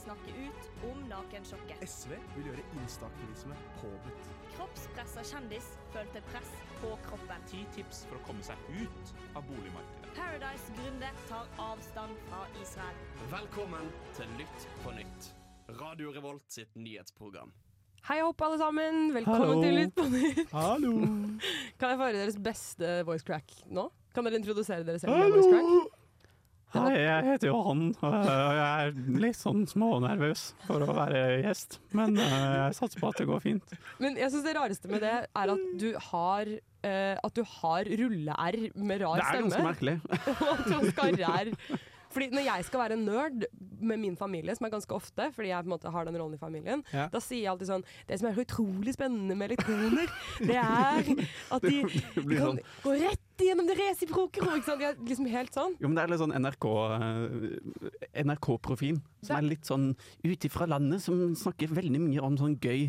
snakke ut om nakensjokket. SV vil gjøre instaaktivisme påbudt. Kroppspressa kjendis følte press på kroppen. Ti tips for å komme seg ut av boligmarkedet. Paradise-gründer tar avstand fra Israel. Velkommen til Lytt på nytt. Radio Revolt sitt nyhetsprogram. Hei hopp, alle sammen. Velkommen Hallo. til Lytt på nytt. Hallo! Kan jeg få høre deres beste voice crack nå? Kan dere introdusere dere selv med voice crack? Hei, jeg heter Johan, og jeg er litt sånn smånervøs for å være gjest. Men eh, jeg satser på at det går fint. Men jeg syns det rareste med det er at du har eh, At du har rulle-r med rar Det er ganske stemme. merkelig. Og at du skar r. Fordi når jeg skal være nerd med min familie, som er ganske ofte, fordi jeg på en måte har den rollen i familien, Ja. da sier jeg alltid sånn Det som er så utrolig spennende med elektroner, det er at de Du blir kan sånn. gå rett gjennom det resiproke rom, ikke sant? De er liksom helt sånn. Jo, men det er litt sånn NRK, eh, NRK-profil, som er litt sånn ut ifra landet, som snakker veldig mye om sånn gøy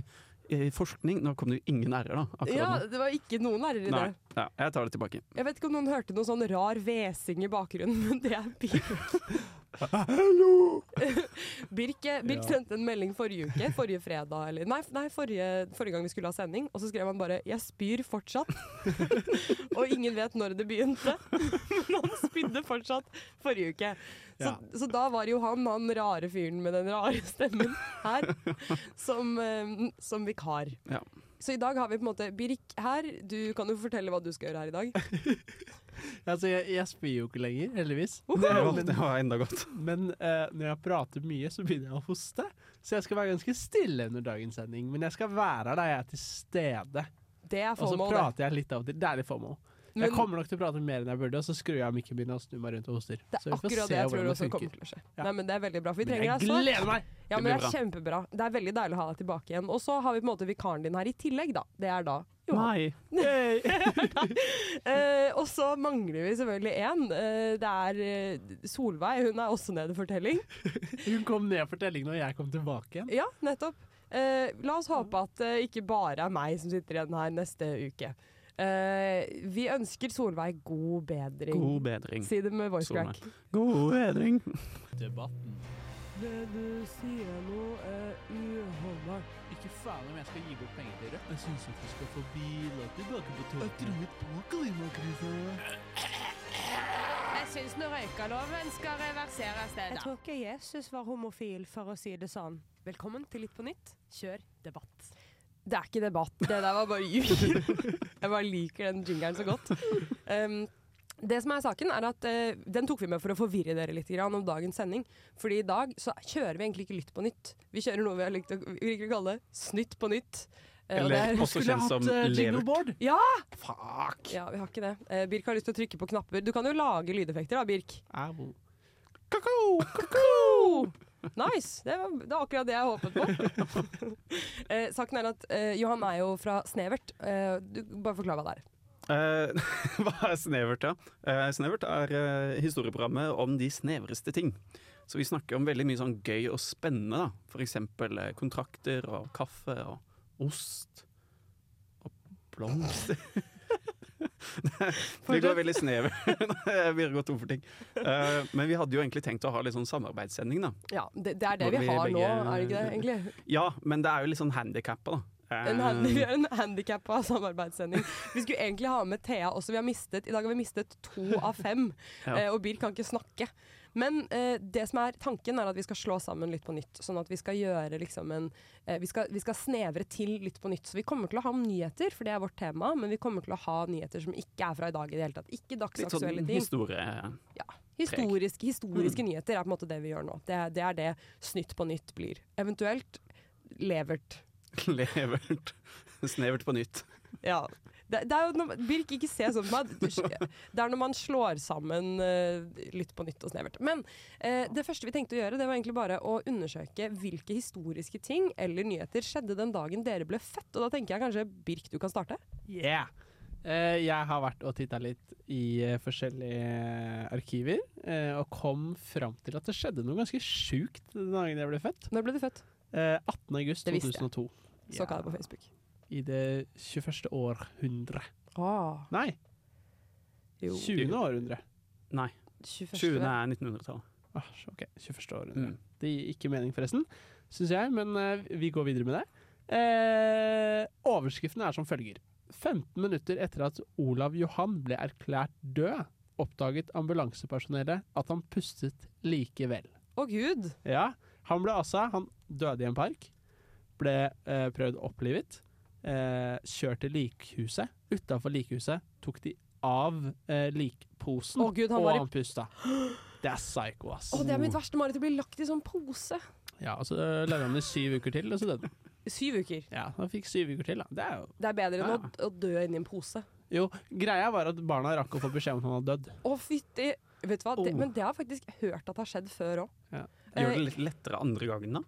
eh, forskning. Nå kom det jo ingen r-er, da. akkurat Ja, nå. det var ikke noen r i Nei, det. ja, jeg tar det tilbake. Jeg vet ikke om noen hørte noe sånn rar hvesing i bakgrunnen, men det er Birk. Birk, eh, Birk sendte en melding forrige uke, forrige fredag, eller nei, f- nei forrige, forrige gang vi skulle ha sending, og så skrev han bare 'jeg spyr fortsatt'. og ingen vet når det begynte, men han spydde fortsatt forrige uke. Så, Ja. så da var jo han han rare fyren med den rare stemmen her, som, eh, som vikar. Ja. Så i dag har vi på en måte Birk her, du kan jo fortelle hva du skal gjøre her i dag. Altså, jeg, jeg spyr jo ikke lenger, heldigvis. Det var, Men, det var enda godt. men eh, når jeg prater mye, så begynner jeg å hoste. Så jeg skal være ganske stille under dagens sending. Men jeg skal være der jeg er til stede. Det er Og så formål, det. prater jeg litt av og til. Det er litt FOMO. Men Jeg kommer nok til å prate mer enn jeg burde, og så skrur jeg av mikken min og snur meg rundt og hoster. det så er akkurat det jeg tror også kommer til å skje. Ja. Nei, men Det er veldig bra, for vi Men trenger jeg deg snart. gleder meg! Ja, Det men blir det er kjempebra. Det er veldig deilig å ha deg tilbake igjen. Og så har vi på en måte vikaren din her i tillegg, da. Det er da Johan. Nei. Eh, og så mangler vi selvfølgelig én. Eh, det er eh, Solveig. Hun er også nede for telling. Hun kom ned for telling når jeg kom tilbake igjen. Ja, nettopp. Eh, la oss håpe at det ikke bare er meg som sitter igjen her neste uke. Eh, vi ønsker Solveig god bedring. God bedring. Si det med voice Solveig. crack. God bedring. Debatten. Du sier noe uholdbart. Ikke faen om jeg skal gi bort penger til Rødt. Jeg syns at du skal få bil og tilbake på toppen. Jeg truet på klimakrisa. Jeg syns nå røykaloven skal reverseres. det Jeg da. tror ikke Jesus var homofil, for å si det sånn. Velkommen til Litt på nytt. Kjør debatt. Det er ikke debatt. Det der var bare jul. Jeg bare liker den jingeren så godt. Um, det som er saken er at eh, Den tok vi med for å forvirre dere litt grann om dagens sending. Fordi i dag så kjører vi egentlig ikke Lytt på nytt. Vi kjører noe vi har likt å, vi liker å kalle Snytt på nytt. Eh, og det Eller er- også kjent som eh, lever. jingleboard. Ja! Fuck. ja, vi har ikke det. Eh, Birk har lyst til å trykke på knapper. Du kan jo lage lydeffekter da, Birk. Au. Koko! Nice! Det var, det var akkurat det jeg håpet på. eh, saken er at eh, Johan er jo fra Snevert. Eh, du, bare forklar hva det er. Eh, hva er Snevert, da? Eh, snevert er eh, historieprogrammet om de snevreste ting. Så vi snakker om veldig mye sånn gøy og spennende. da. For eksempel eh, kontrakter og kaffe og ost og blomster. Det går veldig snevert. Jeg begynner å gå tom for ting. Eh, men vi hadde jo egentlig tenkt å ha litt sånn samarbeidssending, da. Ja, det, det er det Hvor vi vi har nå, begge- er det ikke det? egentlig? Ja, men det er jo litt sånn handikappa, da. Eh, En handi, vi har en handikappa samarbeidssending. Vi skulle egentlig ha med Thea også. Vi har mistet, I dag har vi mistet to av fem, Ja. eh, og Birk kan ikke snakke. Men eh, det som er tanken er at vi skal slå sammen Lytt på nytt. Sånn at vi skal gjøre liksom en eh, vi, skal, vi skal snevre til Lytt på nytt. Så vi kommer til å ha om nyheter, for det er vårt tema. Men vi kommer til å ha nyheter som ikke er fra i dag i det hele tatt. Ikke litt sånn dagsaktuelle ting. historie... Ja. Historiske, historiske Mm. nyheter er på en måte det vi gjør nå. Det, det er det Snytt på nytt blir. Eventuelt levert. Levert. Snevert på nytt. Ja. Det, det er jo når, Birk, ikke se sånn på meg. Du- Det er når man slår sammen eh, Lytt på nytt og Snevert. Men eh, det første vi tenkte å gjøre, det var egentlig bare å undersøke hvilke historiske ting eller nyheter skjedde den dagen dere ble født. Og da tenker jeg kanskje Birk, du kan starte? Yeah. Eh, jeg har vært og titta litt i eh, forskjellige arkiver, eh, og kom fram til at det skjedde noe ganske sjukt den dagen jeg ble født. Når ble du født? Eh, 18. august Det visste jeg. 2002. Så ka det på Facebook. I det 21. århundre. Ah, Nei, jo. 20. århundre. 21. 20. er 1900-tallet. Ah, så- ok, 21. århundre. Mm. Det gir ikke mening, forresten, syns jeg, men eh, vi går videre med det. Eh, overskriften er som følger. 15 minutter etter at Olav Johan ble erklært død, oppdaget ambulansepersonellet at han pustet likevel. Å gud! Ja, han ble altså Han døde i en park. Ble eh, prøvd opplivet. Eh, kjørt til likhuset. Utafor likhuset tok de av eh, likposen, Å Gud, han og var i- han pusta. Det er psycho, ass. Å, det er mitt verste mareritt å bli lagt i sånn pose. Ja, og så lagde han det syv uker til, og så døde han. Syv uker. Ja, han fikk syv uker til, da. Det er jo Det er bedre enn Ja. å, å dø inni en pose. Jo, greia var at barna rakk å få beskjed om at han hadde dødd. Å, fytti! Vet du hva? Det, Oh. men det har jeg faktisk hørt at har skjedd før Eh, òg. Ja. Gjør det litt lettere andre gangen, da?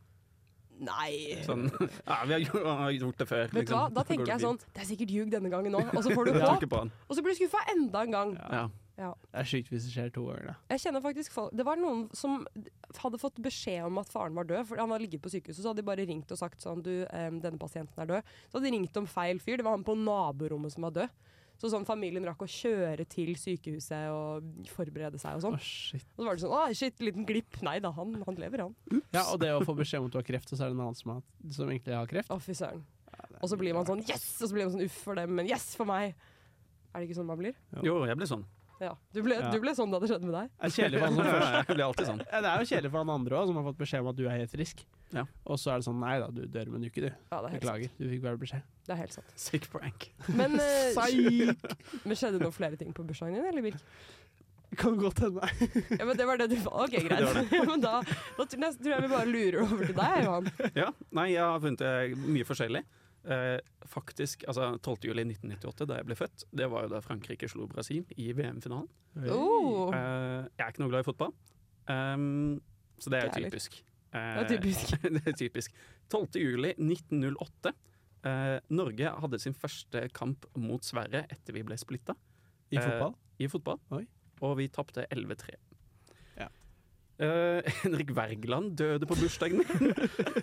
Nei! Sånn, ja, vi har gjort, har gjort det før. liksom. Vet du hva? Da tenker jeg sånn Det er sikkert ljug denne gangen òg. Og så får du Jeg håp, trykker på han. og så blir du skuffa enda en gang. Ja. Det er sykt hvis det skjer to ganger, da. Jeg kjenner faktisk folk Det var noen som hadde fått beskjed om at faren var død. For han hadde ligget på sykehuset, så hadde de bare ringt og sagt sånn Du, em, denne pasienten er død. Så hadde de ringt om feil fyr. Det var han på naborommet som var død. Så sånn familien rakk å kjøre til sykehuset og forberede seg Å, og sånn. shit. Og så var det sånn Å, shit, liten glipp. Nei da, han, han lever, han. Ja, og det å få beskjed om at du har kreft, og så er det en annen som, har, som egentlig har kreft. Å, fy søren. Og så blir man sånn Yes! Og så blir man sånn Uff for dem, men yes for meg. Er det ikke sånn man blir? Jo, jeg blir sånn. Ja. Du ble, Ja. du ble sånn da det skjedde med deg. Det er kjedelig for han som først Jeg blir alltid sånn. Ja, det er jo kjedelig for han andre òg, som har fått beskjed om at du er helt frisk. Ja. Og så er det sånn Nei da, du dør om en uke, du. Ja, det er helt sant. Beklager. Du fikk bare beskjed. Det er helt sant. Sick prank. Men, eh, Psyk! men skjedde det noen flere ting på bursdagen din, eller, Birk? Kan godt hende. Ja, men det var det du Ok, greit. Ja, men da, da tror jeg- tror jeg vi bare lurer over til deg, Johan. Ja, nei, jeg har funnet eh, mye forskjellig. Eh, faktisk, altså 12. juli 1998, da jeg ble født, det var jo da Frankrike slo Brasil i VM-finalen. Oh, det Eh, jeg er ikke noe glad i fotball, Ehm, så det er jo Det er typisk. er typisk. Eh, det er typisk. 12. juli 1908. eh, Norge hadde sin første kamp mot Sverige etter vi ble splitta I fotball? i fotball, Oi. og vi tapte 11-3. Ja. Eh, Henrik Wergeland døde på bursdagen min.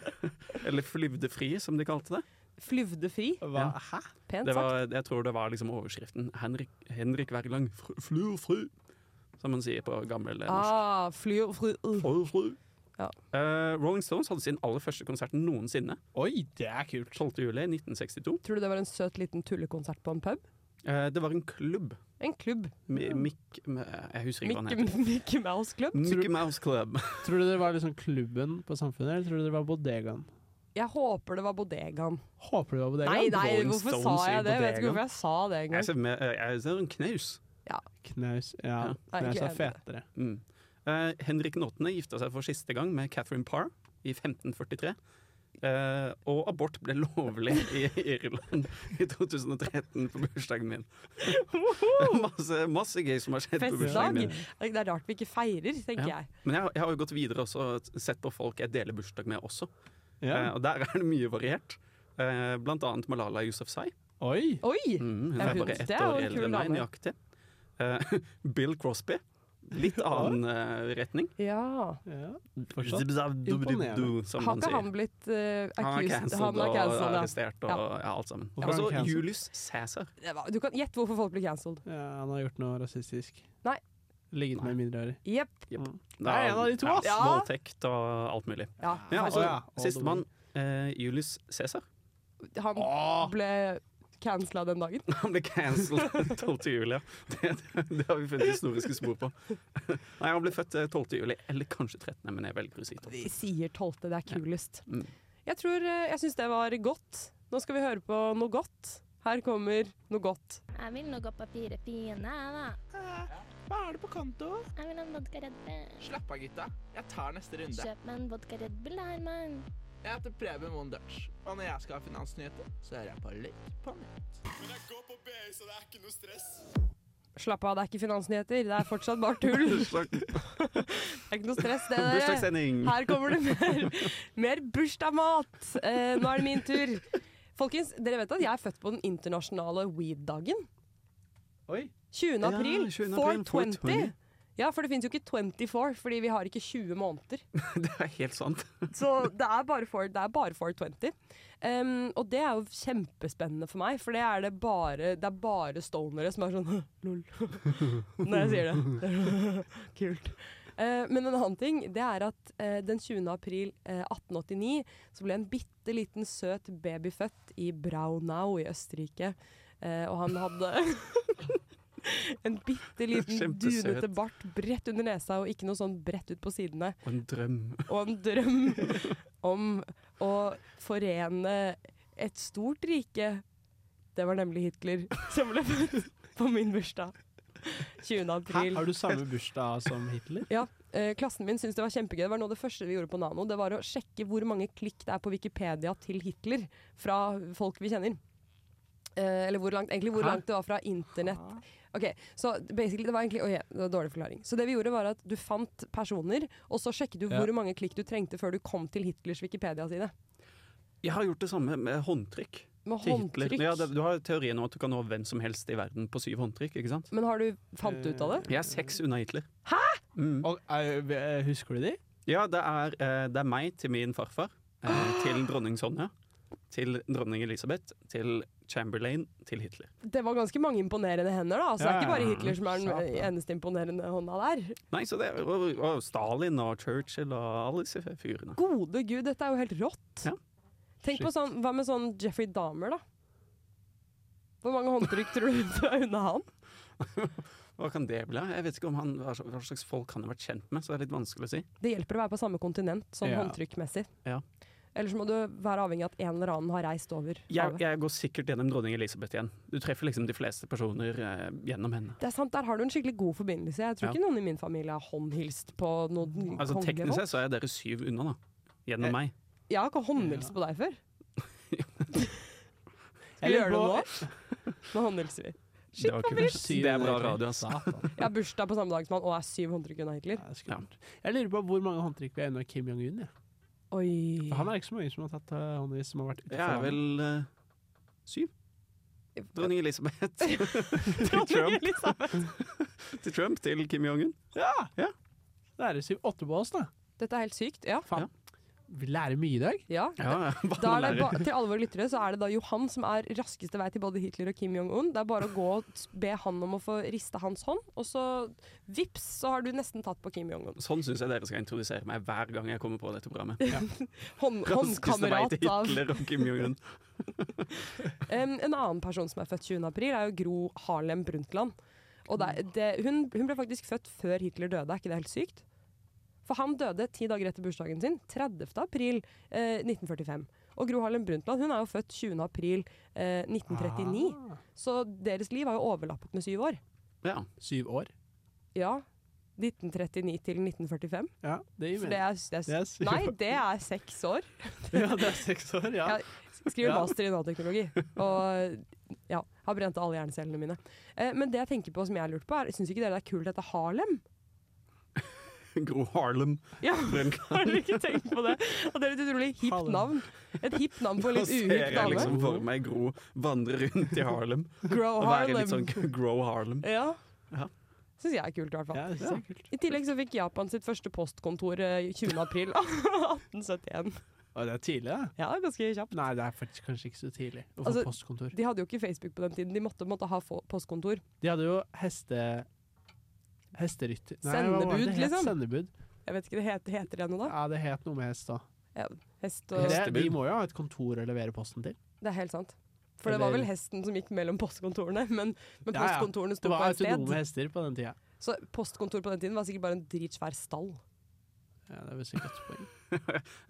Eller flyvde fri, som de kalte det. Flyvde fri. Hva? Ja. Hæ? Pent det sagt. var, jeg tror det var liksom overskriften. Henrik, Henrik Wergeland fr- flyr fri, som man sier på gammel eh, norsk. Ah, fly og fru uh. Flyr fri. Ja. Eh, Rolling Stones hadde sin aller første konsert noensinne. Oi, det er kult. 12. juli 1962. Tror du det var en søt liten tullekonsert på en pub? Eh, det var en klubb. En klubb. Mi- Mick Jeg husker ikke hva Mickey, den heter. Mickey Mouse Club. Mickey Mouse Club. Tror du det var liksom klubben på Samfunnet, eller tror du det var bodegaen? Jeg håper det var Bodegaen. Håper det var bodegaen. Nei, nei, Rolling hvorfor Stones sa i jeg det? Jeg vet ikke Bodegaen. hvorfor jeg sa det engang. Jeg ser, med, eh, jeg ser en knaus. Knaus. Ja, Ja. Nei, Knaus ikke er fetere. Mm. Eh, Henrik den åttende gifta seg for siste gang med Catherine Parr i 1543. Eh, og abort ble lovlig i Irland i 2013 på bursdagen min. Det er masse, masse gøy som har skjedd på Festdag. bursdagen min. Det er rart vi ikke feirer, tenker Ja. jeg. Men jeg, jeg har jo gått videre også og sett på folk jeg deler bursdag med også. Ja. Eh, og der er det mye variert. Eh, blant annet Malala Yousafzai. Oi! Oi! Mm, hun Ja, er hun- bare ett det er jo år en kul eldre enn meg, dame. nøyaktig. Eh, Bill Crosby. Litt annen eh, retning. Ja. Ja. Fortsatt. Imponerende. Som Har man ikke sier. han blitt uh, Han er accused? cancelled og cancelled, ja. arrestert og ja. alt sammen. Hvorfor er han Altså cancelled? Julius Cæsar. Det var- Du kan gjette hvorfor folk blir cancelled. Ja, han har gjort noe rasistisk. Nei. Ligget med Mm. mindreårige. Jepp. Det er en av de to, ass. Ja, Ja. Voldtekt og alt mulig. Ja, Ja, han- altså, Å, ja. Å, Sistemann, eh, Julius Cæsar. Han ble cancela den dagen. Han ble cancelled den 12. juli. ja. Det, det, det har vi funnet historiske spor på. Nei, han ble født eh, 12. juli, eller kanskje 13., men jeg velger å si 12. Vi sier 12. Det er kulest. Mm. Jeg tror eh, Jeg syns det var godt. Nå skal vi høre på noe godt. Her kommer noe godt. Jeg vil nå gå på fire fine, jeg da. Hva er det på konto? Jeg vil ha en vodka Red Bull. Slapp av, gutta. Jeg tar neste runde. Kjøp meg en vodka Red Bull her, mann. Jeg heter Preben Moen Dutch, og når jeg skal ha finansnyheter, så hører jeg på litt på nett. Slapp av, det er ikke finansnyheter. Det er fortsatt bare tull. Det er ikke noe stress, det der. Bursdagssending! Her kommer det mer, mer bursdagsmat. Eh, nå er det min tur. Folkens, dere vet at jeg er født på den internasjonale weed-dagen? Oi. 20. Ja, april. 20. april, 420. 420. Ja, for det finnes jo ikke 24, fordi vi har ikke 20 måneder. Det er helt sant. Så det er bare, for, det er bare 420. Um, og det er jo kjempespennende for meg, for det er, det bare, det er bare stonere som er sånn lol når jeg sier det. Kult. Eh, men en annen ting det er at eh, den 20. april eh, 1889 så ble en bitte liten søt baby født i Braunau i Østerrike. Eh, og han hadde en bitte liten Kjempesøt. dunete bart bredt under nesa og ikke noe sånn bredt ut på sidene. Og en drøm. Og en drøm om å forene et stort rike. Det var nemlig Hitler som ble født på min bursdag. 20. Hæ? april. Har du samme bursdag som Hitler? Eh, klassen min syntes det var kjempegøy. Det var noe av det første vi gjorde på Nano. Det var å sjekke hvor mange klikk det er på Wikipedia til Hitler fra folk vi kjenner. Eh, eller hvor langt, egentlig hvor Hæ? langt det var fra internett. Ok, så basically det var egentlig Oi, det var en dårlig forklaring. Så det vi gjorde var at du fant personer, og så sjekket du Ja. hvor mange klikk du trengte før du kom til Hitlers Wikipedia-side. Jeg har gjort det samme med håndtrykk. Med til Hitler. håndtrykk. Ja, det, du har teorien om at du kan nå hvem som helst i verden på syv håndtrykk. ikke sant? Men har du fant du ut av det? Jeg er seks unna Hitler. Hæ?! Mm. Eh, Og, eh, vi- eh, husker du de? Ja, det er, eh, det er meg til min farfar, eh, til dronning Sonja, til dronning Elisabeth, til Chamberlain, til Hitler. Det var ganske mange imponerende hender, da. Altså, Eh. Det Ja, er ikke bare ja, ja. Hitler som er den Satan. eneste imponerende hånda der. Nei, så det er og, og Stalin og Churchill og alle disse fyrene. Gode gud, dette er jo helt rått. Ja. Tenk på Shit. sånn, Hva med sånn Jeffrey Dahmer, da? Hvor mange håndtrykk tror du du er unna han? Hva kan det bli? Jeg vet ikke om han, hva slags- hva slags folk han har vært kjent med, så det er litt vanskelig å si. Det hjelper å være på samme kontinent, sånn Ja. håndtrykkmessig. Ja. Ellers må du være avhengig av at en eller annen har reist over Jeg, havet. jeg går sikkert gjennom dronning Elisabeth igjen. Du treffer liksom de fleste personer eh, gjennom henne. Det er sant, Der har du en skikkelig god forbindelse. Jeg tror Ja. ikke noen i min familie har håndhilst på noen Altså kongelige Teknisk folk. sett så er dere syv unna, da. Gjennom Eh, meg. Jeg har ikke håndhilst på deg før. Skal vi Eller gjøre det på- nå? Nå håndhilser vi. Det, var kult. det er bra radio, ass. Satan. Jeg har bursdag på samme dag som han, og er syv håndtrykk unna Hitler. Ja, skummelt. Jeg lurer på hvor mange håndtrykk vi er unna Kim Jong-un. Ja. Oi. For Han er ikke så mange som har tatt eh, hånd i som har vært utenfor Jeg er landet. vel eh, syv. Dronning Elisabeth til Dronning Trump, Elisabeth. til Trump, til Kim Jong-un. Det er syv-åtte på oss, da. Dette er helt sykt. Ja. Faen. Vi lærer mye i dag. ja. Ja, hva Da er det ba lærer? til alle våre lyttere så er det da Johan som er raskeste vei til både Hitler og Kim Jong-un. Det er bare å gå og s- be han om å få riste hans hånd, og så vips, så har du nesten tatt på Kim Jong-un. Sånn syns jeg dere skal introdusere meg hver gang jeg kommer på dette programmet. Hånd Raskeste vei håndkamerat til av Hitler og Kim Jong-un. Em, En annen person som er født 20. april, er jo Gro Harlem Brundtland. Og det, er- det, hun, hun ble faktisk født før Hitler døde, er ikke det helt sykt? For han døde ti dager etter bursdagen sin, 30. april eh, 1945. Og Gro Harlem Brundtland hun er jo født 20. april eh, 1939. Ah, Så deres liv har jo overlappet med syv år. Ja. syv år. Ja. 1939 til 1945. Ja, det gir For det mening. er, det er, Det er syv nei, år. det er seks år. Ja, det er seks år, ja. Ja. Skriver Ja. master i nanoteknologi. Og ja, har brent alle hjernecellene mine. Eh, men det jeg tenker på som jeg lurte på, er syns ikke dere det er kult dette Harlem? Gro Harlem. Ja, Brundtland. har dere ikke tenkt på det? At det er et utrolig hipt Harlem. navn. Et hipt navn på en Nå litt ser uhipp jeg dame. liksom for meg Gro vandre rundt i Harlem Grow og være Harlem. litt sånn Grow Harlem. Ja. Ja. Syns jeg er kult, i hvert fall. Ja, det er kult. I tillegg så fikk Japan sitt første postkontor eh, 20. april 1871. Og det er tidlig, da. Ja, ganske kjapt. Nei, det er faktisk kanskje ikke så tidlig å få Altså- postkontor. De hadde jo ikke Facebook på den tiden. De måtte, måtte ha få- postkontor. De hadde jo heste... Hesterytter... Nei, hva var Sendebud, det det het? liksom? Sendebud. Jeg vet ikke, det heter, heter det noe da? Ja, det het noe med hest òg. Hest og De Hestebud. må jo ha et kontor å levere posten til. Det er helt sant. For det var Eller- vel hesten som gikk mellom postkontorene, men, men Ja, ja. postkontorene sto Det var på et autonome sted. hester på den tida. Så postkontor på den tiden var sikkert bare en dritsvær stall. Ja, det er vel sikkert et poeng.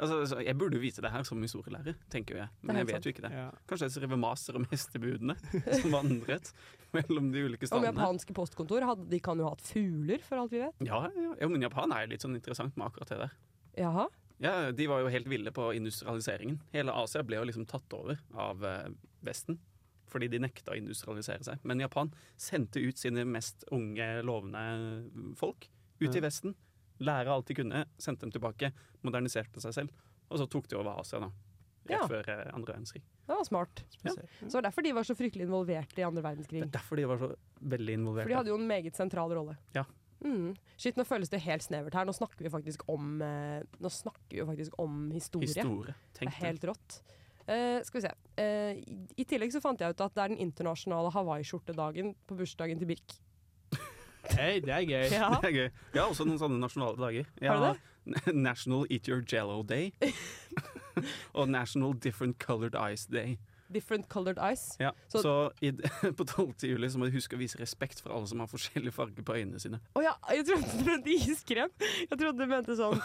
Altså, så jeg burde jo vite det her som historielærer, tenker jo jeg. Men jeg helt vet jo ikke det. Ja. Kanskje jeg skriver master om hestebudene som vandret mellom de ulike Om standene. japanske postkontor hadde, De kan jo ha hatt fugler, for alt vi vet. Ja, ja. ja, men Japan er jo litt sånn interessant med akkurat det der. Jaha. Ja, De var jo helt ville på industrialiseringen. Hele Asia ble jo liksom tatt over av eh, Vesten. Fordi de nekta å industrialisere seg. Men Japan sendte ut sine mest unge, lovende folk ut Ja. i Vesten. Lære alt de kunne, sendte dem tilbake, moderniserte seg selv. Og så tok de over Asia, da. Rett Ja. før eh, andre verdenskrig. Det var smart. Ja. Så det var derfor de var så fryktelig involvert i andre verdenskrig. Det er derfor de var så veldig For involvert. de hadde jo en meget sentral rolle. Ja. Mm. Shit, nå føles det helt snevert her. Nå snakker vi faktisk om, eh, nå snakker vi jo faktisk om historie. Historie. Det er Tenk det. helt rått. Eh, skal vi se. Eh, i, I tillegg så fant jeg ut at det er den internasjonale hawaiiskjortedagen på bursdagen til Birk. Hei, det er gøy. Ja. Det er gøy. Jeg har også noen sånne nasjonale dager. Jeg Har du National Eat Your Jello Day. og National Different Colored Ice Day. Different colored eyes. Ja. Så- Så, i, på 12. juli så må du huske å vise respekt for alle som har forskjellig farge på øynene sine. Å ja, jeg trodde du mente iskrem! Jeg trodde du mente sånn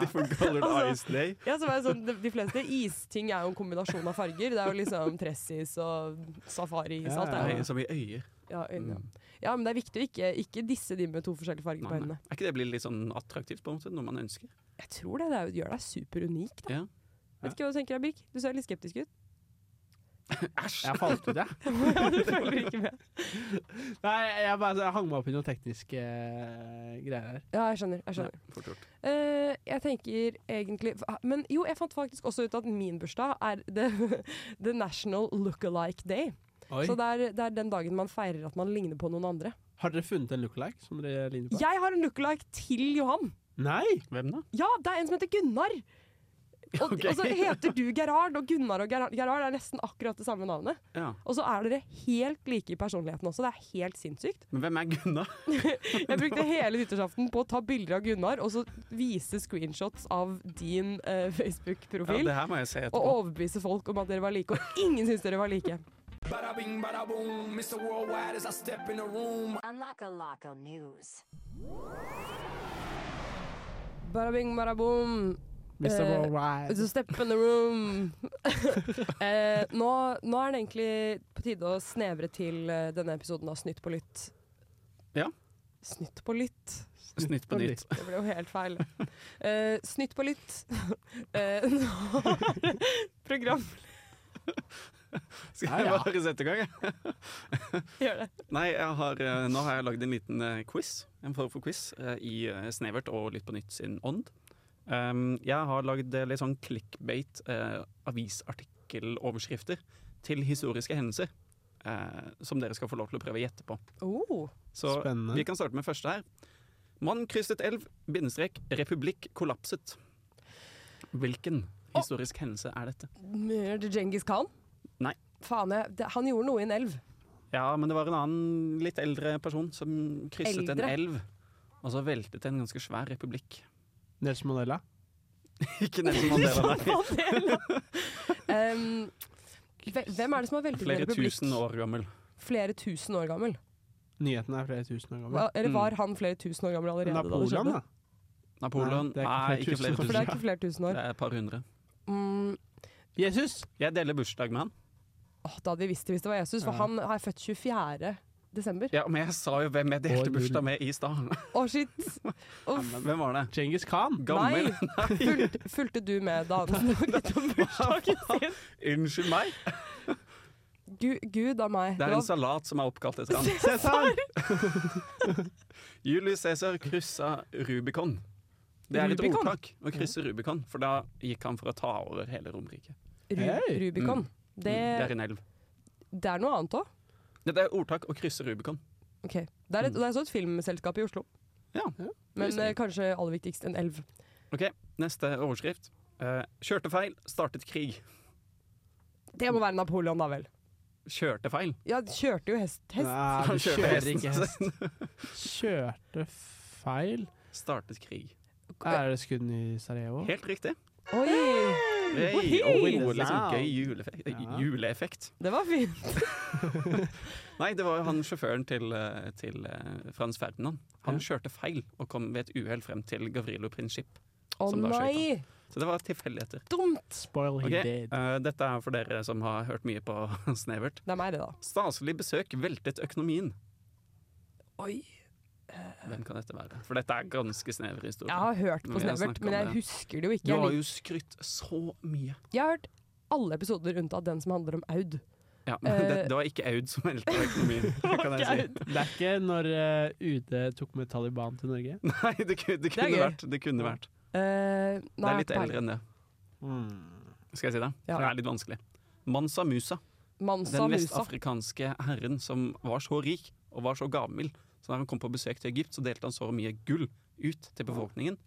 Different Colored Altså- Ice Day. Ja, så var jeg sånn, de, de fleste isting er jo en kombinasjon av farger. Det er jo liksom tressis og safaris og alt det Nei, der. som i øyer. Mm. Ja, øyne, ja. ja, men det er viktig å ikke, ikke disse de med to forskjellige farger på Nei, nei. øynene. Er ikke det blir litt sånn attraktivt, på en måte, når man ønsker? Jeg tror det, det er, gjør deg superunik, da. Ja. Vet ikke hva du tenker deg, Birk. Du ser litt skeptisk ut. Jeg falt ut, jeg. du følger ikke med. Nei, jeg, bare, jeg hang meg opp i noen tekniske eh, greier her. Ja, jeg skjønner. Jeg skjønner. Fort gjort. Eh, jeg tenker egentlig ah, Men jo, jeg fant faktisk også ut at min bursdag er the, the National Lookalike Day. Så det er, det er den dagen man feirer at man ligner på noen andre. Har dere funnet en lookalike som dere ligner på? Jeg har en lookalike til Johan! Nei! Hvem da? Ja, det er en som heter Gunnar! Og, og så heter du Gerhard, og Gunnar og Gerhard, Gerhard er nesten akkurat det samme navnet. Ja. Og så er dere helt like i personligheten også. Det er helt sinnssykt. Men hvem er Gunnar? Jeg brukte hele nyttårsaften på å ta bilder av Gunnar og så vise screenshots av din eh, Ja, Facebook-profil. det her må jeg se og etterpå. overbevise folk om at dere var like, og ingen syns dere var like. Barabing, barabom. Mr. Eh, Worldwide. To step in the room. eh, nå, nå er det egentlig på tide å snevre til eh, denne episoden av Snytt på lytt. Ja. Snytt på lytt. Snytt på nytt. Det ble jo helt feil. Eh, snytt på lytt. Eh, nå er det program Skal jeg Ja, ja. bare sette i gang, jeg? Gjør det. Nei, jeg har, eh, nå har jeg lagd en liten eh, quiz, en form for quiz, eh, i eh, Snevert og Litt på nytt sin ånd. Um, jeg har lagd eh, litt sånn clickbait eh, avisartikkeloverskrifter til historiske hendelser, eh, som dere skal få lov til å prøve å gjette på. Oh, Så Spennende. vi kan starte med første her. Mann krysset elv, bindestrek, republikk kollapset. Hvilken historisk hendelse er dette? er det Djengis Khan? Nei. Faen, jeg, det, han gjorde noe i en elv. Ja, men det var en annen litt eldre person som krysset Eldre? en elv, og så veltet en ganske svær republikk. Nelson Mandela. Ikke Nelson Mandela, nei. um, hve- hvem er det som har veltet en Flere republikk? tusen år gammel. Flere tusen år gammel? Nyheten er flere tusen år gammel. Hva- Eller Mm. var han flere tusen år gammel allerede? da det Napoleon, skjedde? da. Napoleon Nei, det er ikke Nei, flere ikke tusen. For flere det er tusen. ikke flere tusen Det år. er et par hundre. Mm, Jesus! Jeg deler bursdag med han. åh, da hadde vi visst det hvis det var Jesus, for Ja. han er født 24. desember. Ja, men jeg sa jo hvem jeg Å, delte du- bursdag med i stad. Å, shit! Uff. Hvem var det? Genghis Khan. Gammel? Nei. Fulgte, fulgte du med da han snakket om bursdagen sin? Unnskyld meg. Gu, Gud av meg. Det er var- en salat som er oppkalt etter han. Cæsar! Julius Cæsar kryssa Rubicon. Det er et Rubicon? ordtak å krysse Rubicon, for da gikk han for å ta over hele Romerriket. Ru, Hei. Rubicon. Mm. Det, Det er en elv. det er noe annet òg. Ja, Det er ordtak å krysse Rubicon. Ok. Det er, et, Mm. det er så et filmselskap i Oslo. Ja. Men visste jeg. eh, kanskje aller viktigst en elv. Neste overskrift. Eh, kjørte feil, startet krig. Det må være Napoleon, da vel. Kjørte feil. Ja, kjørte jo hest. hest. Nei, du kjørte kjører hesten ikke hest. Kjørte feil. Startet krig. Er det skudd i Sarajevo? Helt riktig. Oi! Hey, Oi! og litt sånn Wow. gøy juleeffekt. Ja. juleeffekt. Det var fint. Nei, det var jo han sjåføren til, eh, til eh, Frans Ferdinand. Han kjørte feil og kom ved et uhell frem til Gavrilo Princip. Å Som da skøyt nei! Så det var tilfeldigheter. Dumt! Spoil he Ok, did. eh, dette er for dere som har hørt mye på Snevert. Det er meg, det, da. Staselig besøk veltet økonomien. Oi. Hvem kan dette være? For dette er ganske snever historie. Jeg har hørt Vi på har Snevert, snakket men om jeg det. husker det jo ikke. Du Jeg, har lik- jo skrytt så mye. jeg har hørt alle episoder unntatt den som handler om Aud. Ja, men Eh. det, det var ikke Aud som veltet økonomien. Det kan jeg si. Det er ikke når eh, UD tok med Taliban til Norge. Nei, det, ku- det er kunne gøy. vært. Det kunne vært. Eh, Det nei, er litt jeg har ikke eldre peiling. enn det. Skal jeg si det? Ja. For det er litt vanskelig. Mansa Musa, Mansa den Musa. vestafrikanske herren som var så rik og var så gavmild. Så da han kom på besøk til Egypt, så delte han så mye gull ut til befolkningen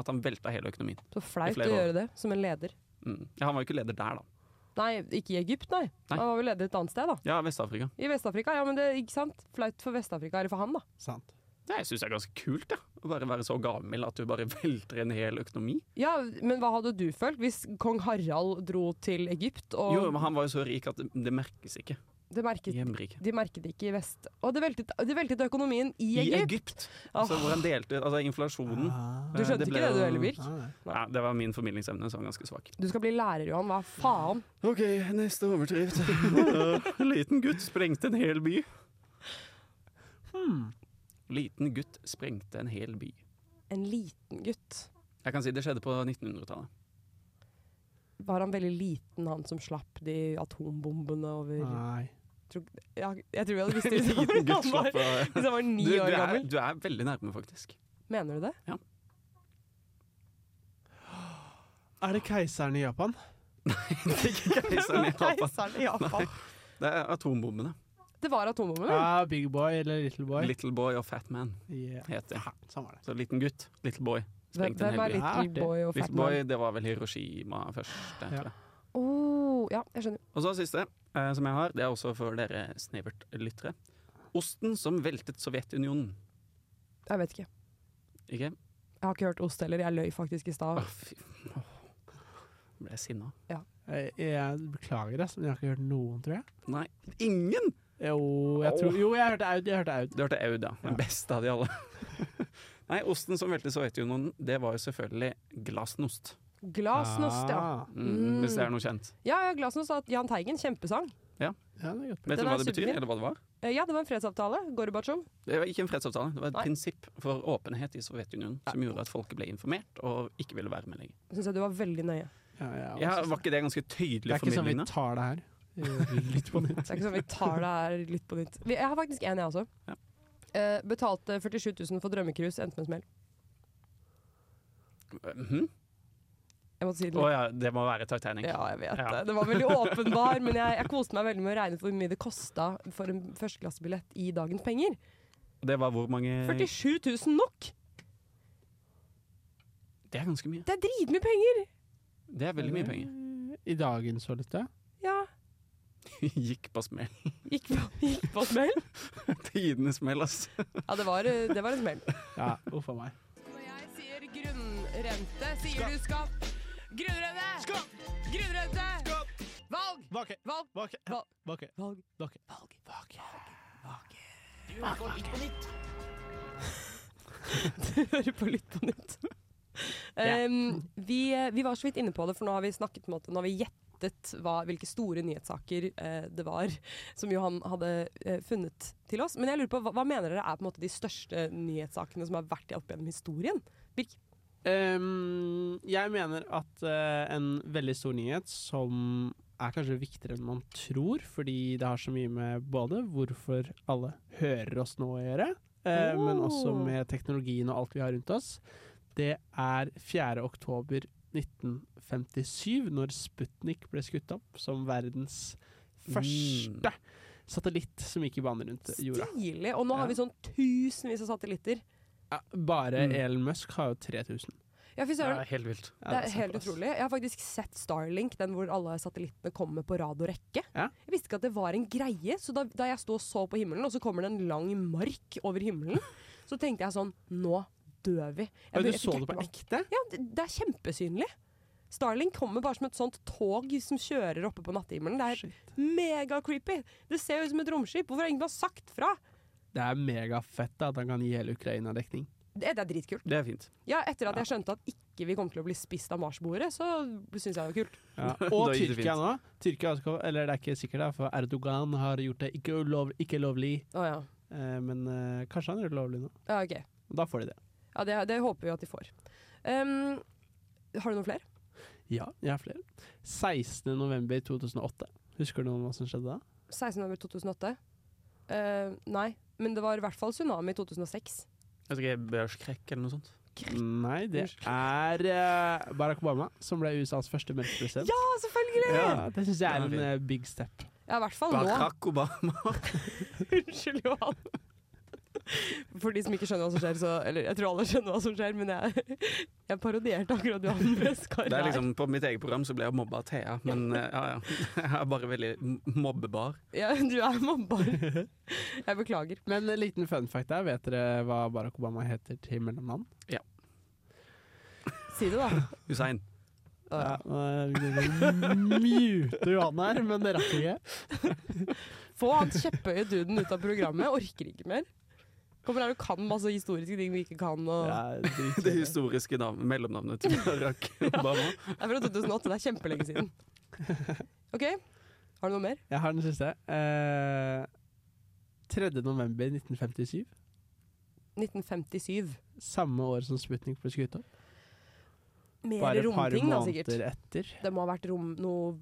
at han velta hele økonomien. Så flaut å flere år. gjøre det som en leder. Mm. Ja, han var jo ikke leder der, da. Nei, ikke i Egypt, nei. Nei. Han var vel leder et annet sted, da. Ja, Vest-Afrika. I Vest-Afrika. Ja, men det ikke sant? Flaut for Vest-Afrika, eller for han, da. Sant. Det syns jeg er ganske kult, ja. Å bare være så gavmild at du bare velter en hel økonomi. Ja, men hva hadde du følt hvis kong Harald dro til Egypt, og Jo, men han var jo så rik at det, det merkes ikke. det merket, Hjemrik. de merket det ikke i vest? Og det veltet, det veltet økonomien i I Egypt! Egypt! Altså, Åh. hvor han delte Altså, inflasjonen Ah. Du skjønte Det ble ikke det du jo- heller, Birk? Nei, det var min formidlingsevne som var ganske svak. Du skal bli lærer, Johan. Hva faen? OK, neste overdrift. en liten gutt sprengte en hel by. Hmm. Liten gutt sprengte en hel by. En liten gutt. Jeg kan si det skjedde på 1900-tallet. Var han veldig liten, han som slapp de atombombene over Nei. ja, Jeg tror vi hadde visst det hvis han var- hvis han var, av hvis han var ni du, du, år er, gammel. du er veldig nærme, faktisk. Mener du det? Er det keiseren i Japan? Det er ikke keiseren i Japan. Keiseren i Japan. Det er atombombene. Det var atombombene? Ja, Big Boy eller Little Boy? Little Boy og Fat Man Yeah. heter det. Ja, Sånn var det. Så liten gutt, Little Boy. Hvem, Sprengte en hvem er hel by. Little Ja, Boy og Fat Little Man? Boy, det var vel Hiroshima først. det tror Ja. jeg. Oh, ja, jeg skjønner. Og så siste, eh, som jeg har, det er også for dere snevert lyttere. Osten som veltet Sovjetunionen. Jeg vet ikke. Ikke? Jeg har ikke hørt ost heller. Jeg løy faktisk i stad. Åh, fy. Åh. Ble jeg sinna? Jeg, jeg beklager, ass, men jeg har ikke hørt noen, tror jeg. Nei, ingen! Jo, jeg, tror, jo, jeg hørte Aud. Jeg hørte Aud. Du hørte Aud, ja. Den beste av de alle. Nei, osten som veltet Sovjetunionen, det var jo selvfølgelig glasnost. Glasnost, ja. Ah. Mm, Hvis det er noe kjent. Ja, ja Glasnost av Jahn Teigen. Kjempesang. Ja, det er godt. Vet Den du er hva det betyr, superfin. eller hva det var? Eh, Ja, det var en fredsavtale. Gorbatsjov. Det var ikke en fredsavtale, det var et Nei. prinsipp for åpenhet i Sovjetunionen som gjorde at folket ble informert og ikke ville være med lenger. Syns jeg du var veldig nøye. Ja, jeg Ja, også- var ikke det ganske det tydelig er ikke sånn vi formidlende? tar det her. Eh, Litt på nytt. Det er ikke sånn vi tar det her litt på nytt. Vi- Jeg har faktisk en, jeg også. Ja. Eh, betalte 47 000 for drømmecruise, endte med en smell. Mhm. Jeg måtte si det. Å ja, det må være Titanic. Ja, jeg vet Ja. det. Det var veldig åpenbar, men jeg, jeg koste meg veldig med å regne for hvor mye det kosta for en førsteklassebillett i dagens penger. Det var hvor mange 47 000 nok! Det er ganske mye. Det er dritmye penger! Det er veldig mye penger. I dagens valuta. Ja. Gikk på smell. Gikk på, gikk på smell. Tidenes smell, altså. ass. Ja, det var, eh, det var en smell. Ja, uff a meg. Når jeg sier grunnrente, sier du skatt. Grunnrente! Skatt! Grunnrente! Skatt! Valg! Vake, Valg! vake, Val- vake. Valg. Vake. Valg. Du hører på Litt på nytt. Du hører på Lytt på nytt. Um, vi, eh, vi var så vidt inne på det, for nå har vi snakket på en måte, nå har vi gjettet hva, hvilke store nyhetssaker eh, det var som Johan hadde eh, funnet til oss. Men jeg lurer på, hva, hva mener dere er på en måte de største nyhetssakene som har vært i opp gjennom historien? Birk? Ehm, jeg mener at eh, en veldig stor nyhet som er kanskje viktigere enn man tror, fordi det har så mye med både hvorfor alle hører oss nå å gjøre, eh, men også Oh. med teknologien og alt vi har rundt oss, det er 4. oktober 1957, når Sputnik ble skutt opp som verdens Mm. første satellitt som gikk i bane rundt jorda. Stilig! Og nå Ja. har vi sånn tusenvis av satellitter. Ja, bare Mm. Elon Musk har jo 3000. Ja, fy søren. helt vilt. Ja, Det er helt såpass. utrolig. Jeg har faktisk sett Starlink, den hvor alle satellittene kommer på rad og rekke. Ja. Jeg visste ikke at det var en greie, så da, da jeg sto og så på himmelen, og så kommer det en lang mark over himmelen, så tenkte jeg sånn Nå dør vi. Jeg, Men ble- du jeg så fikk det på hjertebank. ekte? Ja, det, det er kjempesynlig. Starlink kommer bare som et sånt tog som kjører oppe på nattehimmelen. Det Shit. er mega-creepy. Det ser jo ut som et romskip. Hvorfor har ingen bare sagt fra? Det er megafett da, at han kan gi hele Ukraina dekning. Det, det er dritkult. Det er fint. Ja, etter at jeg skjønte at ikke vi kommer til å bli spist av marsboere, så syns jeg det var kult. Og Da gikk det Tyrkia fint. nå. Tyrkia også, kom- eller det er ikke sikkert, da, for Erdogan har gjort det ikke, ulov, ikke lovlig. Å ja. Eh, men eh, kanskje han gjør det lovlig nå. ja. ok. Da får de det. Ja, det, det håper vi at de får. Ehm, har du noen flere? Ja, jeg har flere. 16. november 2008. Husker du noe om hva som skjedde da? 16. november 2008? Eh, nei, men det var i hvert fall tsunami i 2006. Jeg vet ikke, børskrekk eller noe sånt. Nei, det er eh, Barack Obama, som ble USAs første mørke president. Ja, selvfølgelig! Ja, det syns jeg er Det en er eh, big step. Ja, i hvert fall nå. Barack Obama. Unnskyld, Johan. For de som ikke skjønner hva som skjer, så Eller jeg tror alle skjønner hva som skjer, men jeg, jeg parodierte akkurat Johannes Det er Karl. liksom, på mitt eget program så ble jeg mobba av Thea, men eh, ja, ja. jeg er bare veldig m- mobbebar. Ja, du er mobbar. Jeg beklager. Men en liten fun fact der. Vet dere hva Barack Obama heter til mellomnavn? Si det, da. Hussein. Ja. Mute Johan her, men det rakk ikke. Få han kjepphøye duden ut av programmet. Orker ikke mer. Kommer her og kan masse historiske ting vi ikke kan. Og... Det historiske navn, mellomnavnet til Barack Obama. Det er fra 2008, det er kjempelenge siden. OK, har du noe mer? Jeg har den siste. Eh, 3. november 1957. 1957. Samme år som Sputnik ble skutt opp. Mer Bare et par romting, da, sikkert. måneder etter. Det må ha vært rom noe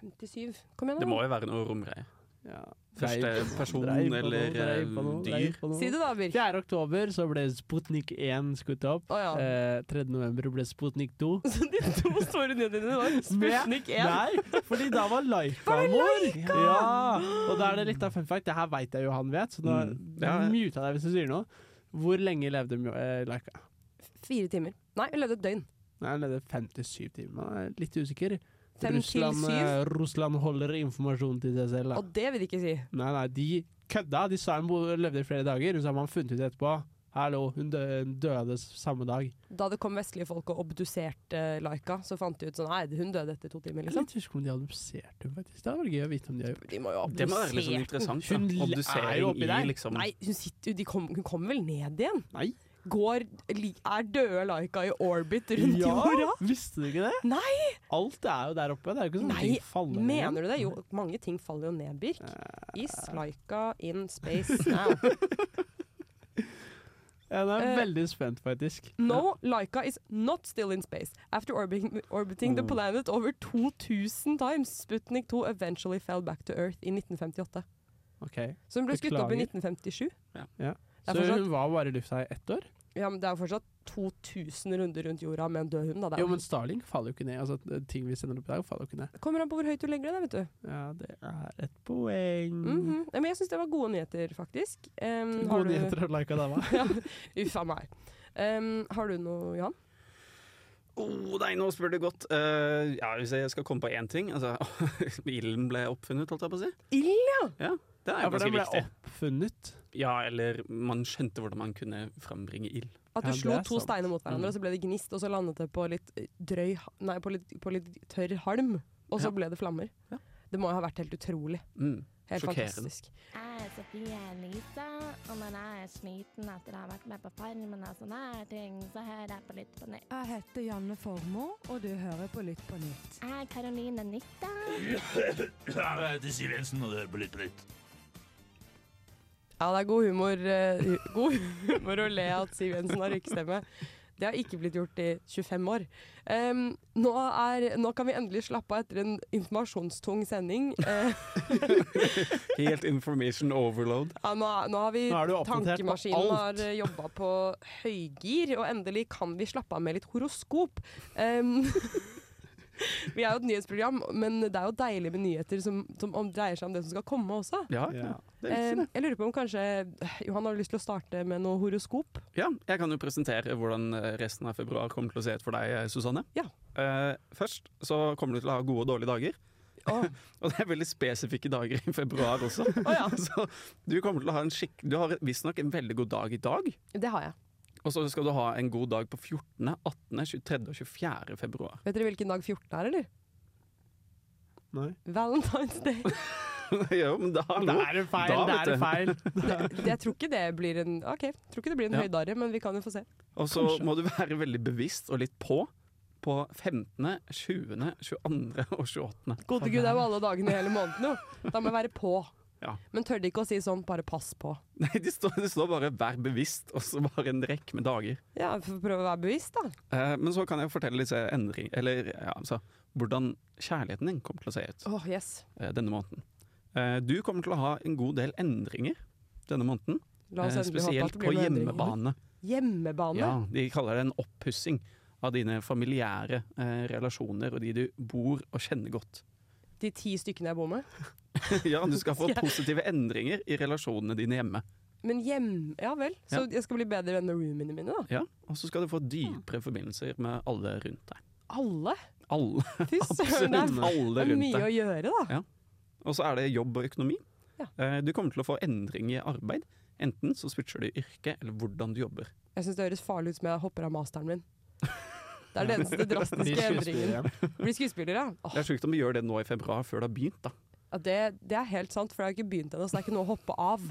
57? Kom igjen, Det må da. jo være noe romgreier. Ja. Første Dreiv på noe, person dreiv på noe, eller, dreiv på noe, eh, dyr. dreiv på noe. Si det, da, Birk. 4. oktober så ble Sputnik 1 skutt opp. Å ja. Eh, 3. november ble Sputnik 2. Så de to store nyhetene dine var Sputnik 1. Nei, fordi da var Laika Var det vår! Ja. Og da er det litt av fun fact. Det her veit jeg jo han vet, så da Mm. Ja, ja. muta deg hvis du sier noe. Hvor lenge levde Mjo- eh, Laika? Fire timer. Nei, hun levde et døgn. Nei, han levde 57 timer. Jeg er litt usikker. Fem Russland, til syv. eh, Russland holder informasjon til seg selv. Da. Og det vil de ikke si. Nei, nei, de kødda. De sa hun bo- levde i flere dager, og så har man funnet ut etterpå. Hallo, hun dø- hun døde s- samme dag. Da det kom vestlige folk og obduserte Laika, så fant de ut sånn Nei, hun døde etter to timer, Jeg liksom. litt husker om de obduserte henne, faktisk. Det hadde vært gøy å vite om de har gjort De må jo ha Det må være litt obdusert sånn den. interessant. da. Hun er jo Obdusering oppi der. i liksom Nei, hun, sitter, jo- de kom, hun kommer vel ned igjen? Nei. Går, li, er døde Laika i orbit rundt jorda? Visste du ikke det? Nei! Alt er jo der oppe. Det er jo ikke sånn Nei, at ting faller Mener du det? Jo, mange ting faller jo ned, Birk. Eh. Is Laika in space now. Jeg er Eh, veldig spent, faktisk. No, Laika is not still in space. After orbiting, orbiting the Mm. planet over 2000 times, Sputnik 2 eventually fell back to Earth i 1958. Ok. Så hun ble skutt opp i Beklager. 1957. Det er Så fortsatt- hun var bare i lufta i ett år? Ja, men Det er jo fortsatt 2000 runder rundt jorda med en død hund. da. Det er Jo, men Starling faller jo ikke ned. Altså, det- ting vi sender opp i dag, faller jo ikke ned. Kommer an på hvor høyt du legger det, da, vet du. Ja, det er et poeng. Mhm. Ja, Men jeg syns det var gode nyheter, faktisk. Um, har Mm. Gode du- nyheter å like dama. ja, Uff a meg. Um, har du noe, Johan? oh, Nei, nå spør du godt. Eh, ja, Hvis jeg skal komme på én ting altså, Ilden ble oppfunnet, holdt jeg på å si. Ild? Det er Ja, jo for den ganske ble viktig. oppfunnet. Ja, eller man skjønte hvordan man kunne frambringe ild. At du Ja, det slo er to sant. steiner mot hverandre, Mm. og så ble det gnist, og så landet det på litt drøy ha- Nei, på litt, på litt tørr halm, og så Ja. ble det flammer. Ja. Det må jo ha vært helt utrolig. Mm. Helt Sjokkerende. fantastisk. Jeg er Sofie Elise, og når jeg er sliten etter å ha vært med på Farmen og sånne her ting, så hører jeg på Lytt på nytt. Jeg heter Janne Formoe, og du hører på Lytt på nytt. Jeg er Karoline Nytta. Ja, det er god humor, eh, hu- god humor å le at Siv Jensen har rykestemme. Det har ikke blitt gjort i 25 år. Em, nå, er, nå kan vi endelig slappe av etter en informasjonstung sending. Eh, Helt information overload. ja, nå, nå har vi Nå er du oppdatert på Tankemaskinen alt. har eh, jobba på høygir, og endelig kan vi slappe av med litt horoskop. Em, vi er jo et nyhetsprogram, men det er jo deilig med nyheter som, som om, dreier seg om det som skal komme også. Ja, Ja. Eh, det er Em, viktig, det. jeg lurer på om kanskje Johan har lyst til å starte med noe horoskop? Ja, jeg kan jo presentere hvordan eh, resten av februar kommer til å se ut for deg, eh, Susanne. Ja. Eh, først så kommer du til å ha gode og dårlige dager. Å Og det er veldig spesifikke dager i februar også. å ja, Så du kommer til å ha en skikk... Du har visstnok en veldig god dag i dag. det har jeg. Og så skal du ha en god dag på 14., 18., 23. og 24. februar. Vet dere hvilken dag 14 er, eller? Nei. Valentine's Day. jo, men da, Det er en feil! Da, det vet er en feil. Jeg tror ikke det blir en Ok, jeg tror ikke det blir en Ja. høydare, men vi kan jo få se. Og så må du være veldig bevisst og litt på på 15., 20., 22. og 28. Gode gud, det er jo alle dagene i hele måneden, jo. Da må jeg være på. Ja. Men tør de ikke å si sånn 'bare pass på'? Nei, det står, det står bare 'vær bevisst', og så bare en rekke med dager. Ja, for å prøve å være bevisst, da. Eh, men så kan jeg fortelle litt eh, endring, eller ja, altså, hvordan kjærligheten din kommer til å se ut Åh, yes. eh, denne måneden. Eh, du kommer til å ha en god del endringer denne måneden. La oss eh, endelig håpe at spesielt det på blir noen endringer. hjemmebane. Hjemmebane? Ja, de kaller det en oppussing av dine familiære eh, relasjoner og de du bor og kjenner godt. De ti stykkene jeg bor med. ja, du skal få Skal jeg- positive endringer i relasjonene dine hjemme. Men hjem Ja vel. Så jeg skal bli bedre venn med roomiene mine, da. Ja, og så skal du få dypere forbindelser med alle rundt deg. Alle! Alle, Fy søren, det er- absolutt det alle er rundt mye å deg. gjøre, da. Og så er det jobb og økonomi. Ja. Eh, Du kommer til å få endring i arbeid. Enten så switcher du yrke, eller hvordan du jobber. Jeg syns det høres farlig ut som jeg hopper av masteren min. Det er den eneste Blir drastiske skuespiller endringen. igjen. Bli skuespiller, ja. Åh, Det er sjukt om du gjør det nå i februar, før det har begynt. da. ja, det, det er helt sant, for jeg har ikke begynt ennå, så det er ikke noe å hoppe av.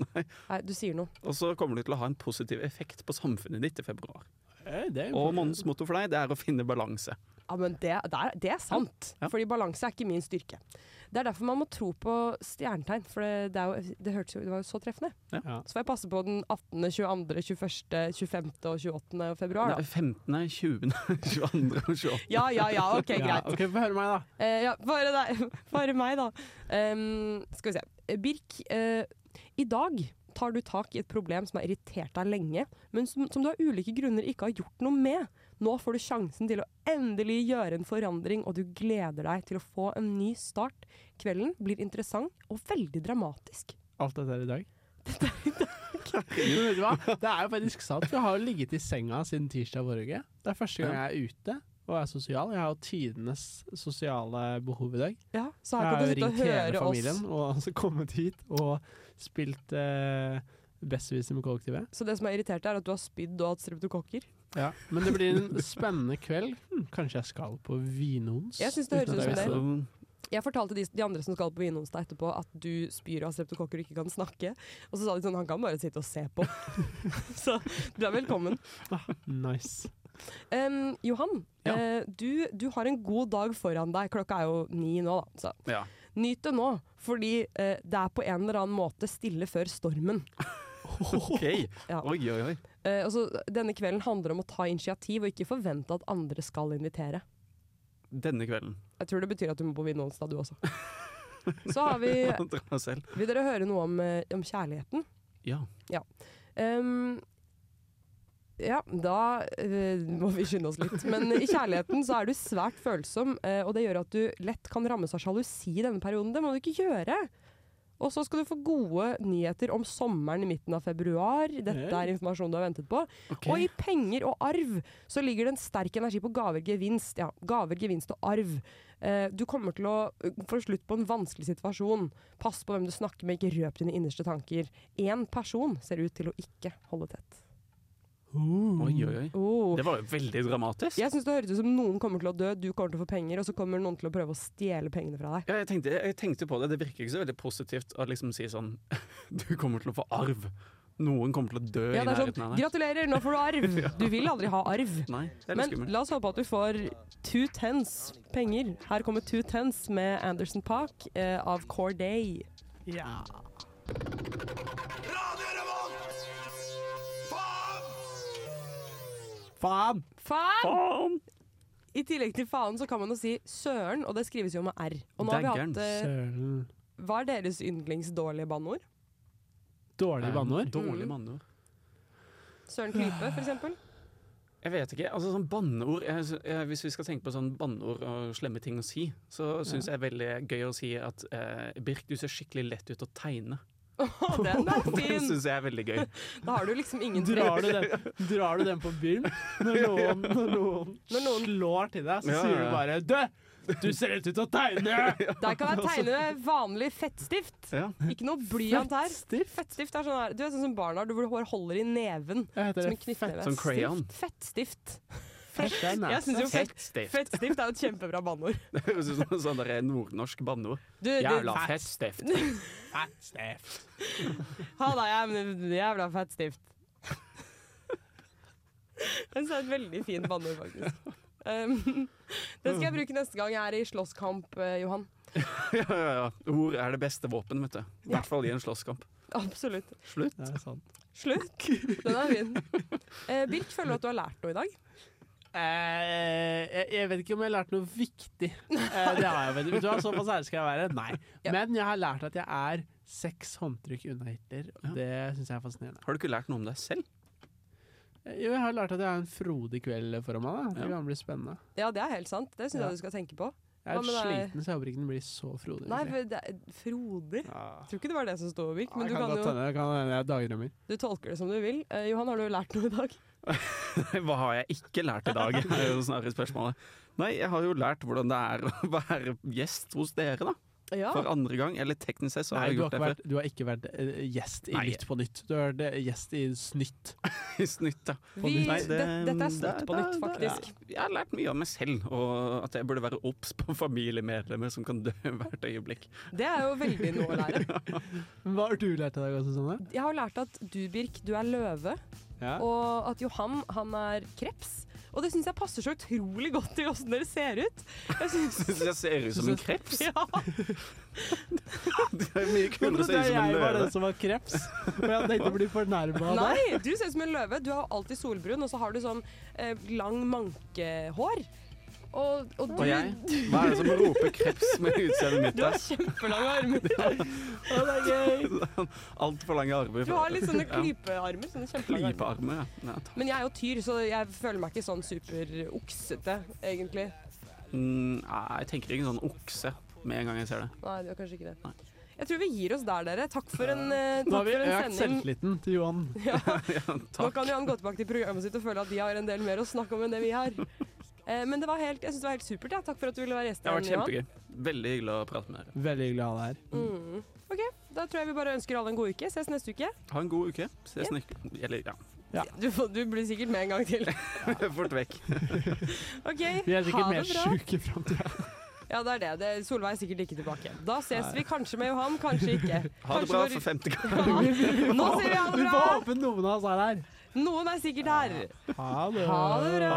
Nei, du sier noe. Og så kommer du til å ha en positiv effekt på samfunnet ditt i februar. Eh, det er jo- Og månedens motto for deg, det er å finne balanse. Ja, men det, det, er, det er sant. Ja. Fordi balanse er ikke min styrke. Det er derfor man må tro på stjernetegn, for det, det, er jo, det, hørtes jo, det var jo så treffende. Ja. Ja. Så får jeg passe på den 18., 22., 21., 25. og 28. februar, Nei, da. 15., 20., 22. og 28. Ja, ja, ja, ok, Ja, greit. ok, Få høre meg, da. Eh, ja, bare, deg, bare meg, da. Ehm, skal vi se. Eh, Birk, eh, i dag tar du tak i et problem som har irritert deg lenge, men som, som du av ulike grunner ikke har gjort noe med. Nå får du sjansen til å endelig gjøre en forandring, og du gleder deg til å få en ny start. Kvelden blir interessant og veldig dramatisk. Alt dette er i dag. Jo, vet du hva? Det er jo faktisk sant. Vi har jo ligget i senga siden tirsdag forrige uke. Det er første gang jeg er ute og er sosial. Jeg har jo tidenes sosiale behov i dag. Ja, så Jeg her har kan du jo sitte og ringt hele høre familien oss. og altså kommet hit og spilt uh, Besserwisser med kollektivet. Så det som har irritert deg, er at du har spydd og hatt streptokokker? Men det blir en spennende kveld. Hm, kanskje jeg skal på Vinons? Jeg synes det Uten at høres jeg ut som vet det. Så- Jeg fortalte de, de andre som skal på Vinonsdag etterpå at du spyr av streptokokker og ikke kan snakke. Og så sa de sånn han kan bare sitte og se på. så du er velkommen. Nice. Em, Johan, Ja. eh, du, du har en god dag foran deg. Klokka er jo ni nå, da. Så. Ja. Nyt det nå, fordi eh, det er på en eller annen måte stille før stormen. OK. Ja. Oi, oi, oi. Eh, og så denne kvelden handler om å ta initiativ og ikke forvente at andre skal invitere. Denne kvelden. Jeg tror det betyr at du må på Vinonsdag, du også. Så har vi Dra meg selv. Vil dere høre noe om, eh, om kjærligheten? Ja. Ehm, ja, da eh, må vi skynde oss litt. Men i kjærligheten så er du svært følsom, eh, og det gjør at du lett kan rammes av sjalusi i denne perioden. Det må du ikke gjøre! Og så skal du få gode nyheter om sommeren i midten av februar. Dette Hey. er informasjon du har ventet på. Ok. Og i penger og arv så ligger det en sterk energi på gaver, gevinst. Ja, gaver, gevinst og arv. Eh, du kommer til å eh, få slutt på en vanskelig situasjon. Pass på hvem du snakker med, ikke røp dine innerste tanker. Én person ser ut til å ikke holde tett. Uh, Oi, oi, oi. Oh. Det var jo veldig dramatisk. Jeg syns det høres ut som noen kommer til å dø, du kommer til å få penger, og så kommer noen til å prøve å stjele pengene fra deg. Ja, jeg, tenkte, jeg tenkte på det. Det virker ikke så veldig positivt å liksom si sånn Du kommer til å få arv. Noen kommer til å dø Ja, i det er nærheten sånn, av deg. Gratulerer, nå får du arv! Du vil aldri ha arv. Nei, det er litt Men skummelt. la oss håpe at du får two tens penger. Her kommer two tens med Anderson Park eh, av Corday. Ja. Faen! Faen! I tillegg til faen så kan man jo si søren, og det skrives jo med r. Og nå har vi Daggeren. hatt, eh, Søren. Hva er deres yndlingsdårlige banneord? Dårlige banneord? Dårlige Mm. banneord. Søren klype, f.eks.? Jeg vet ikke. altså sånn Banneord jeg, sy- jeg, Hvis vi skal tenke på sånn banneord og slemme ting å si, så syns jeg er veldig gøy å si at eh, Birk, du ser skikkelig lett ut å tegne. Å, den er Det fin! syns jeg er veldig gøy. Da har du liksom ingen Drar trekk. du, den, drar du den på byen når noen, når noen, Når noen- slår til deg, så Ja, ja, sier du ja. bare Du! Du ser ut til å tegne! Der kan Altså- jeg tegne med vanlig fettstift. Ja. Ikke noe blyant her. Fettstift? Fettstift er sånn her, du er sånn som barn har, du hvor hår holder i neven. Jeg heter Som en det. knyttneve. Som crayon. Fettstift. Fett, det er Jeg nice. synes jo fett, Fettstift. fettstift er jo et kjempebra banneord. Det høres ut som sånn der nordnorsk banneord. Du, du, Jævla fettstift. Fettstift. Ha deg, jævla- jævla fettstift. Den er et veldig fin banneord, faktisk. Um, den skal jeg bruke neste gang jeg er i slåsskamp, eh, Johan. Ja, ja, ja. Ord er det beste våpen, vet du. I hvert fall i en slåsskamp. Absolutt. Slutt. Det er sant. Slutt. Den er fin. Eh, Birk, føler du at du har lært noe i dag? Eh, jeg, jeg vet ikke om jeg har lært noe viktig. Eh, det har jeg vet, vet du hva, Såpass ærlig skal jeg være. Nei. Ja. Men jeg har lært at jeg er seks håndtrykk unna Hitler. og Ja. Det syns jeg er fascinerende. Eh, Har du ikke lært noe om deg selv? Jo, jeg har lært at jeg har en frodig kveld foran meg. Da. Det Ja. kan bli spennende. Ja, det er helt sant. Det syns Ja. jeg du skal tenke på. Jeg er Hva med deg? sliten, så jeg håper ikke den blir så frodig. Nei, egentlig. for det er Frodig? Ah. Jeg tror ikke det var det som sto over, men Ja, du kan godt jo hende, kan hende jeg dagdrømmer. Du tolker det som du vil. Eh, Johan, har du lært noe i dag? Hva har jeg ikke lært i dag? er jo snarere spørsmålet. Nei, jeg har jo lært hvordan det er å være gjest hos dere, da. Ja. For andre gang. Eller teknisk sett så Nei, har jeg du har, gjort ikke det vært, du har ikke vært eh, gjest i Nei. Nytt på nytt. Du har vært eh, gjest i Snytt. før. I snitt, ja. Vi, Nei, det, dette er snutt det- på nytt, det- faktisk. det- Jeg har lært mye om meg selv, og at jeg burde være obs på familiemedlemmer som kan dø hvert øyeblikk. Det er jo veldig noe å lære. Hva har du lært i dag, Susanne? Jeg har lært at du, Birk, du er løve, Ja. og at Johan, han er kreps. Og det syns jeg passer så utrolig godt til åssen dere ser ut. Jeg synes, Syns jeg ser ut som en kreps. ja. Det er mye Men kulere å trodde se ut jeg som en var den løve. som var kreps, og jeg tenkte å bli fornærma av deg. Nei, du ser ut som en løve. Du har alltid solbrun, og så har du sånn eh, lang mankehår. Og, og du, Og jeg? Hva er det som roper kreps med utseendet mitt? du har da? kjempelange armer. Og det er gøy. Altfor lange armer. Du har litt sånne klypearmer. Sånne kjempelange armer. Klypearmer, ja. ja. Men jeg er jo tyr, så jeg føler meg ikke sånn superoksete, egentlig. Mm, nei, jeg tenker ikke sånn okse med en gang jeg ser det. Nei, det var kanskje ikke Nei. det. Jeg tror vi gir oss der, dere. Takk for en, eh, Nå har takk vi for en økt sending. selvtilliten til Johan. Ja. Nå Takk. kan Johan gå tilbake til programmet sitt og føle at de har en del mer å snakke om enn det vi har. Eh, Men det var helt, jeg synes det var helt supert. Ja. Takk for at du ville være gjest Det har igjen, vært Johan. kjempegøy. Veldig hyggelig å prate med dere. Veldig hyggelig å ha deg her. Mm. OK, da tror jeg vi bare ønsker alle en god uke. Ses neste uke. Ha en god uke. Ses neste Eller, ja. Ja. Du, får- du blir sikkert med en gang til. Fort vekk. OK, Vi ha er sikkert det mer bra. sjuke i framtida. Ja, det er det. det. Solveig er sikkert ikke tilbake. Da ses vi kanskje med Johan, kanskje ikke. Ha det Kanskje bra vår- for femte gang. Ja. Nå sier vi ha Vi får det bra! håpe noen av oss er her. Noen er sikkert her. Ha det. Ha det bra!